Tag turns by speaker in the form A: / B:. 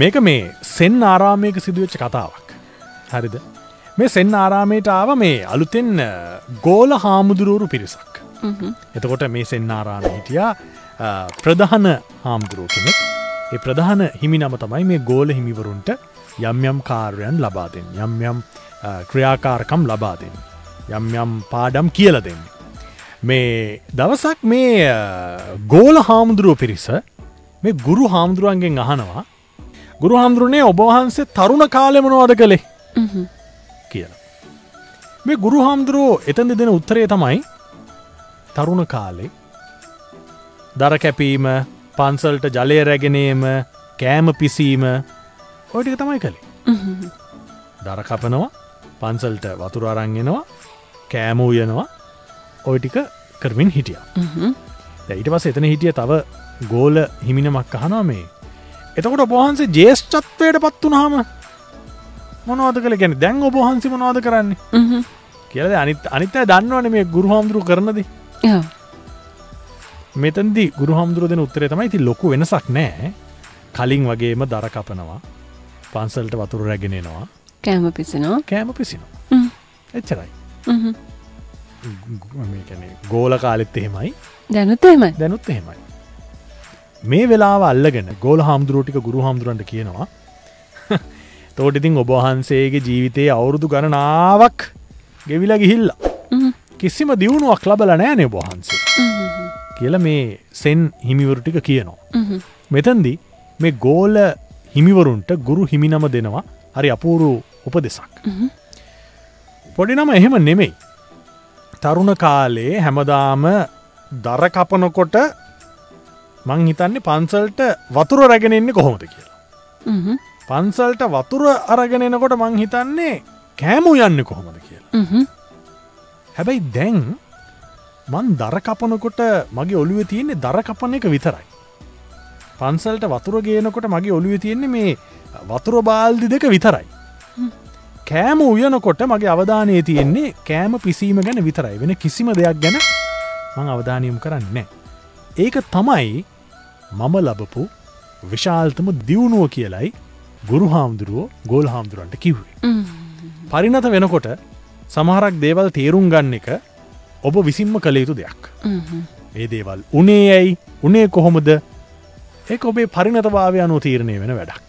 A: මේක මේ සෙන් ආරාමයක සිදුවච්ච කතාවක් හරිද මේ සෙන් ආරාමයට ආව මේ අලුතෙන් ගෝල හාමුදුරුවරු පිරිසක් එතකොට මේ සෙන් ආරාම හිටියා අ, ප්‍රධාන හාමුදුරුව කෙනෙක් ඒ ප්‍රධාන හිමි නම තමයි මේ ගෝල හිමිවරුන්ට යම්යම් කාර්යන් ලබාදෙන් යම්යම් ක්‍රියාකාරකම් ලබාදෙන් යම්යම් පාඩම් කියල දෙන්න මේ දවසක් මේ අ, ගෝල හාමුදුරුව පිරිස මේ ගුරු හාමුදුරුවන්ගෙන් අහනවා ගුරු හාමුදුරුවනේ ඔබවහන්සේ තරුණ කාලෙමනවාද කළේ කියලා. මේ ගුරු හාමුදුරුවෝ එතන් දෙෙන උත්තරේ තමයි තරුණ කාලේ දර කැපීම පන්සල්ට ජලය රැගෙනීම කෑම පිසීම ඔටික තමයි කළේ දරකපනවා පන්සල්ට වතුරාරංගෙනවා කෑමූයනවා ඔයිටික කරමින් හිටිය දැයිට පස් එතන හිටිය තව ගෝල හිමිනමක් අහනා මේ එතකොට ඔබහන්සේ ජේෂ්චත්වයට පත් වනාම මොනවද කළ ගැන දැන් ඔබහන්සේ මොනවාද කරන්නේ කියලද අනිත් අනිතය දන්නවන මේ ගුරු හාමුදුරු කරනද මෙතන්දි ගුරු හාමුදුරුව දෙන උත්තරේ තමයි ති ලොකු වෙනසක් නෑ කලින් වගේම දරකපනවා පන්සල්ට වතුර රැගෙනෙනවා
B: කෑම පිසනවා
A: කෑම පිසිනවා එච්චරයි ග- මේ කියන්නේ ගෝල කාලෙත් එහෙමයි
B: දැනුතේමයි
A: දැනුත් එහෙමයි. මේ වෙලාව අල්ලගෙන ගෝල හාමුදුරුවටික ගුරු හාමුදුරන්ට කියනවා තෝටිතින් ඔබහන්සේගේ ජීවිතයේ අවුරුදු ගණනාවක් ගෙවිල ගිහිල්ල කිසිම දියුණුවක් ලබල නෑනේ බහන්සේ කියල මේ සෙන් හිමිවරුටික කියනවා. මෙතන්දි මේ ගෝල හිමිවරුන්ට ගුරු හිමිනම දෙනවා හරි අපූරු උපදෙසක්. පොඩි නම එහෙම නෙමෙයි. තරුණ කාලේ හැමදාම දරකපනකොට මං හිතන්නේ පන්සල්ට වතුර රැගෙනෙන්නේ කොහොමද කියලා. පන්සල්ට වතුර අරගෙනනකොට මං හිතන්නේ කෑමු යන්න කොහොමද කියලා. හැබැයි දැන් මන් දරකපනකොට මගේ ඔළුව තියෙන්නේ දරකපන එක විතරයි. පන්සල්ට වතුර ගේනකොට මගේ ඔළුව තියෙන්නේ මේ වතුර බාල්දි දෙක විතරයි. කෑම උයනකොට මගේ අවධානය තියෙන්නේ කෑම පිසීම ගැන විතරයි වෙන කිසිම දෙයක් ගැන මං අවධානයම් කරන්න. ඒක තමයි මම ලබපු විශාල්තම දියුණුව කියලයි ගුරු හාමුදුරුවෝ ගෝල් හාමුදුරුවන්ට කිව්වේ. පරිනත වෙනකොට සමහරක් දේවල් තේරුම් ගන්න එක ඔබ විසින්ම කළ යුතු දෙයක්. ඒ දේවල් උනේ ඇයි උනේ කොහොමද ඒ ඔබේ පරිනතභාවයනු තීරණය වෙන වැඩක්.